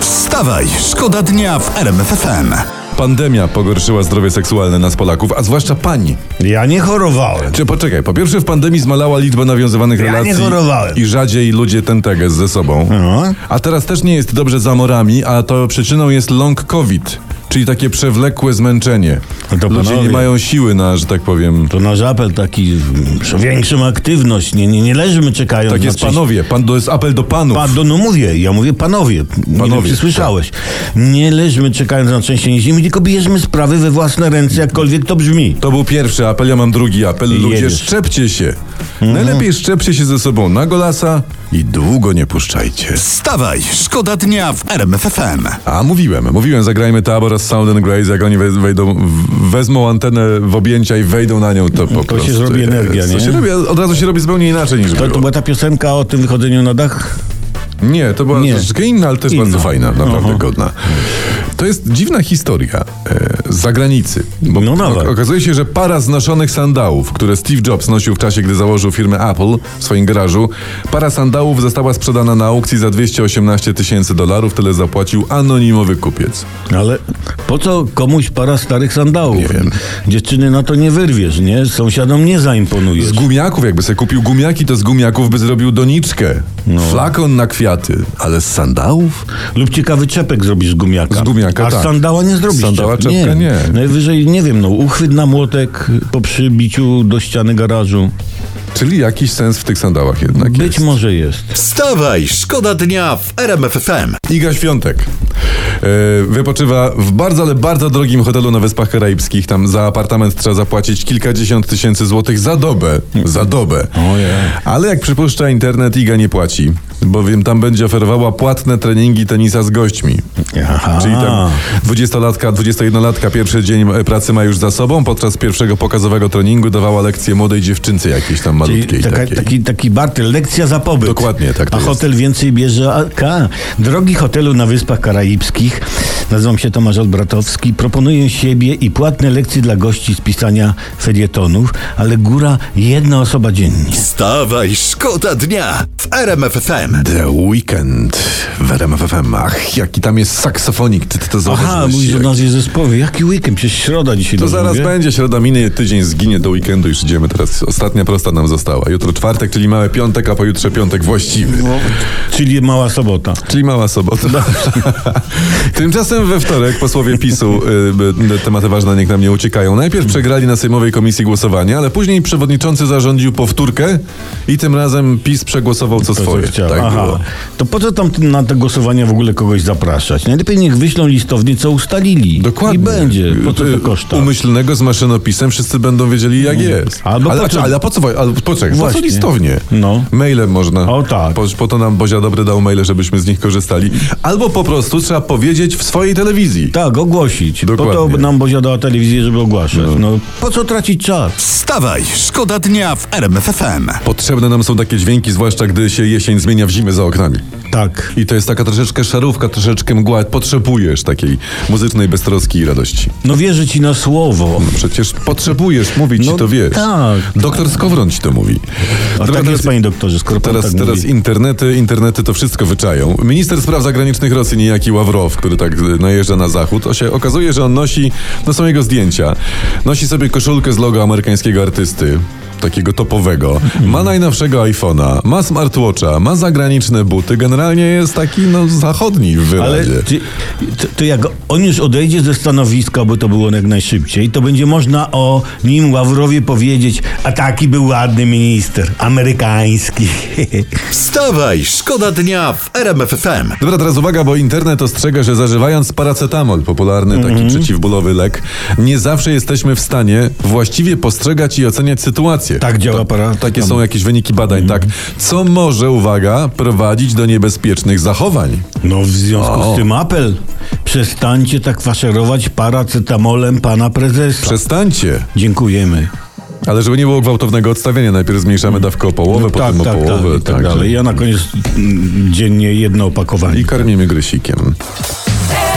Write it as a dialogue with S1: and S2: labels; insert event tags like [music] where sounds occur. S1: Wstawaj, szkoda dnia w RMFFM.
S2: Pandemia pogorszyła zdrowie seksualne nas Polaków, a zwłaszcza pani.
S3: Ja nie chorowałem.
S2: Czy poczekaj, po pierwsze w pandemii zmalała liczba nawiązywanych
S3: Ja nie
S2: relacji
S3: chorowałem.
S2: i rzadziej ludzie tenteges ze sobą.
S3: No.
S2: A teraz też nie jest dobrze za morami, a to przyczyną jest long covid, czyli takie przewlekłe zmęczenie.
S3: No to
S2: ludzie
S3: panowie.
S2: nie mają siły na, że tak powiem.
S3: To nasz apel
S1: tak-
S3: taki, mm, że większą aktywność, nie, nie, nie leżymy czekając
S2: Tak
S3: na
S2: jest
S3: coś.
S2: panowie, pan, to jest apel do panów.
S3: Pa, do, no mówię, ja mówię panowie, panowie nie wiem,
S2: Panowie, tak.
S3: czy słyszałeś. Nie leżmy czekając na trzęsienie ziemi, tylko bierzmy sprawy we własne ręce, jakkolwiek to brzmi.
S2: To był pierwszy apel, ja mam drugi apel. Ludzie,
S3: Jedziesz. Mhm.
S2: szczepcie się. Najlepiej szczepcie się ze sobą na golasa i długo nie puszczajcie.
S1: Wstawaj, szkoda dnia w RMFFM.
S2: A mówiłem, mówiłem, zagrajmy Tabor z Sound and Grace, jak oni we- wejdą, w- wezmą antenę w objęcia i wejdą na nią, to po
S3: się
S2: prostu...
S3: zrobi
S2: jest.
S3: energia,
S2: to
S3: nie?
S2: Się robi, od razu się robi zupełnie inaczej niż
S3: To,
S2: było.
S3: to była ta piosenka o tym wychodzeniu na dach?
S2: Nie, to była
S3: Nie.
S2: troszeczkę inna, ale też
S3: Inna.
S2: bardzo fajna, naprawdę
S3: Aha.
S2: godna. To jest dziwna historia e, z zagranicy. Bo
S3: No
S2: o-
S3: nawet.
S2: okazuje się, że para znoszonych sandałów, które Steve Jobs nosił w czasie, gdy założył firmę Apple w swoim garażu, para sandałów została sprzedana na aukcji za 218 tysięcy dolarów, tyle zapłacił anonimowy kupiec.
S3: Ale po co komuś para starych sandałów?
S2: tak. Nie wiem.
S3: Dziewczyny na to nie wyrwiesz, nie? Sąsiadom nie
S2: Z
S3: zaimponujesz.
S2: gumiaków, jakby sobie kupił gumiaki, to z gumiaków by zrobił doniczkę. Flakon na kwiaty, ale z sandałów?
S3: Lub ciekawy czepek zrobisz z gumiaka.
S2: Z gumiaka,
S3: A
S2: tak.
S3: z sandała nie zrobisz.
S2: Z sandała
S3: czepka.
S2: czepka nie.
S3: Najwyżej, nie wiem, no uchwyt na młotek po przybiciu do ściany garażu.
S2: Czyli jakiś sens w tych sandałach jednak
S3: Być
S2: Tak jest.
S3: może jest.
S1: Wstawaj, szkoda dnia w RMFFM.
S2: Iga Świątek e, wypoczywa w bardzo, ale bardzo drogim hotelu na Wyspach Karaibskich. Tam za apartament trzeba zapłacić kilkadziesiąt tysięcy złotych za dobę. Za dobę.
S3: Ojej.
S2: Ale jak przypuszcza internet, Iga nie płaci, bowiem tam będzie oferowała płatne treningi tenisa z gośćmi.
S3: Aha.
S2: Czyli tam 20-latka, 21-latka pierwszy dzień e, pracy ma już za sobą. Podczas pierwszego pokazowego treningu dawała lekcję młodej dziewczynce jakiejś tam malutkiej.
S3: taka,
S2: takiej.
S3: taki, taki barter, lekcja za pobyt.
S2: Dokładnie, tak to
S3: A
S2: jest.
S3: hotel więcej bierze. A, ka. Drogi hotelu na Wyspach Karaibskich, nazywam się Tomasz Odbratowski, proponuję siebie i płatne lekcje dla gości z pisania felietonów, ale góra jedna osoba dziennie.
S1: Wstawaj, szkoda dnia w RMFFM.
S2: The Weekend w RMFFM. Ach, jaki tam jest saksofonik, ty, ty to
S3: Aha,
S2: zauważyłeś.
S3: mówisz o
S2: jak-
S3: nazwie zespołowej. Jaki weekend? Przecież środa dzisiaj.
S2: To
S3: dobrze
S2: zaraz
S3: mówię?
S2: będzie, środa minie, tydzień zginie do weekendu, już idziemy teraz. Ostatnia prosta nam została. Jutro czwartek, czyli mały piątek, a pojutrze piątek właściwy.
S3: No. Czyli mała sobota.
S2: Czyli mała sobota.
S3: No.
S2: [laughs] Tymczasem we wtorek posłowie PiSu, y, y, tematy ważne niech nam nie uciekają. Najpierw przegrali na Sejmowej Komisji Głosowania, ale później przewodniczący zarządził powtórkę i tym razem PiS przegłosował co
S3: To, co
S2: swoje.
S3: chciałem.
S2: tak
S3: Aha.
S2: było.
S3: To po co tam na te głosowania w ogóle kogoś zapraszać? Najlepiej niech wyślą listownie, co ustalili.
S2: Dokładnie.
S3: I będzie. Po co
S2: Y,
S3: to koszta? Mm.
S2: Umyślnego z maszynopisem wszyscy będą wiedzieli jak jest.
S3: Albo
S2: ale,
S3: po co-
S2: ale, ale po co, ale poczekaj, po co
S3: Właśnie.
S2: listownie?
S3: No.
S2: Maile można.
S3: O, tak.
S2: Po, po to nam Bozia Dobry dał maile, żebyśmy z nich korzystali. Albo po prostu trzeba powiedzieć w swojej telewizji.
S3: Tak, ogłosić. Po
S2: Dokładnie.
S3: to nam Bozia dała telewizję, żeby ogłaszać. No. po co tracić czas?
S1: Wstawaj, szkoda dnia w RMFFM.
S2: Potrzebne nam są takie dźwięki, zwłaszcza gdy się jesień zmienia w zimę za oknami.
S3: Tak.
S2: I to jest taka troszeczkę szarówka, troszeczkę mgła. Potrzebujesz takiej muzycznej beztroski i radości.
S3: No wierzę ci na słowo.
S2: Przecież potrzebujesz, mówi ci
S3: No
S2: to wiesz.
S3: tak.
S2: Doktor Skowron ci to mówi.
S3: A
S2: Dobra,
S3: tak
S2: teraz-
S3: jest, panie doktorze, skoro pan
S2: No Teraz,
S3: tak
S2: teraz
S3: mówi.
S2: internety, internety to wszystko wyczają. Minister spraw zagranicznych Rosji, niejaki Ławrow, który tak y, najeżdża na zachód, o się okazuje, że on nosi, no są jego zdjęcia, nosi sobie koszulkę z logo amerykańskiego artysty. Takiego topowego. Ma najnowszego iPhone'a, ma smartwatcha, ma zagraniczne buty. Generalnie jest taki, no, zachodni w
S3: Ale
S2: wyrazie.
S3: ty, to, to jak on już odejdzie ze stanowiska, bo to było jak najszybciej, to będzie można o nim Ławrowie powiedzieć, a taki był ładny minister, amerykański. [laughs]
S1: Wstawaj, szkoda dnia w RMFFM.
S2: Dobra, teraz uwaga, bo internet ostrzega, że zażywając paracetamol, popularny
S3: Mhm.
S2: taki przeciwbólowy lek, nie zawsze jesteśmy w stanie właściwie postrzegać i oceniać sytuację. rację.
S3: Tak działa para-
S2: No Takie
S3: tam.
S2: są jakieś wyniki badań, tak. Co może, uwaga, prowadzić do niebezpiecznych zachowań?
S3: No w związku
S2: O.
S3: z tym apel. Przestańcie tak faszerować paracetamolem pana prezesa.
S2: Przestańcie.
S3: Dziękujemy.
S2: Ale żeby nie było gwałtownego odstawienia, najpierw zmniejszamy dawkę o połowę,
S3: No
S2: potem o połowę.
S3: i tak,
S2: tak.
S3: dalej. Ja na koniec mm, dziennie jedno opakowanie.
S2: I karmimy grysikiem.
S4: RMFFM.